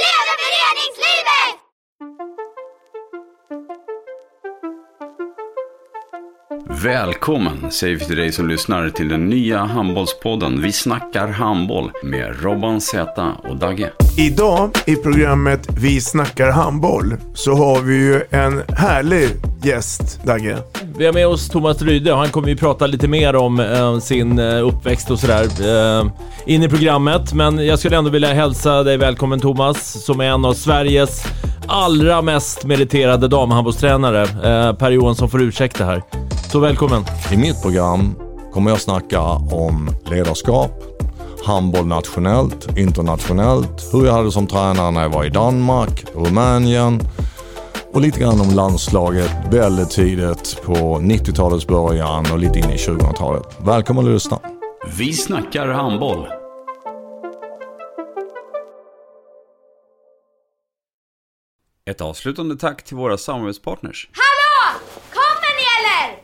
leve föreningslivet! Välkommen säger vi till dig som lyssnar till den nya handbollspodden Vi snackar handboll med Robban Z och Dagge. Idag i programmet Vi snackar handboll så har vi ju en härlig gäst, Dagge. Vi har med oss Thomas Ryde och han kommer ju prata lite mer om eh, sin eh, uppväxt och sådär eh, in i programmet. Men jag skulle ändå vilja hälsa dig välkommen Thomas, som är en av Sveriges allra mest meriterade damhandbollstränare. Eh, per Johansson får ursäkta här. Så välkommen! I mitt program kommer jag snacka om ledarskap, handboll nationellt, internationellt, hur jag hade som tränare när jag var i Danmark, Rumänien och lite grann om landslaget väldigt tidigt på 90-talets början och lite in i 2000-talet. Välkommen att lyssna! Vi snackar handboll. Ett avslutande tack till våra samarbetspartners. Hallå! Kommer ni eller?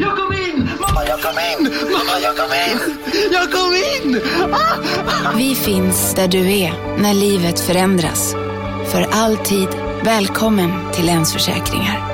Jag kom in! Mamma, jag kom in! Mamma, jag kom in! Jag kom in! Ah! Vi finns där du är när livet förändras. För alltid välkommen till Länsförsäkringar.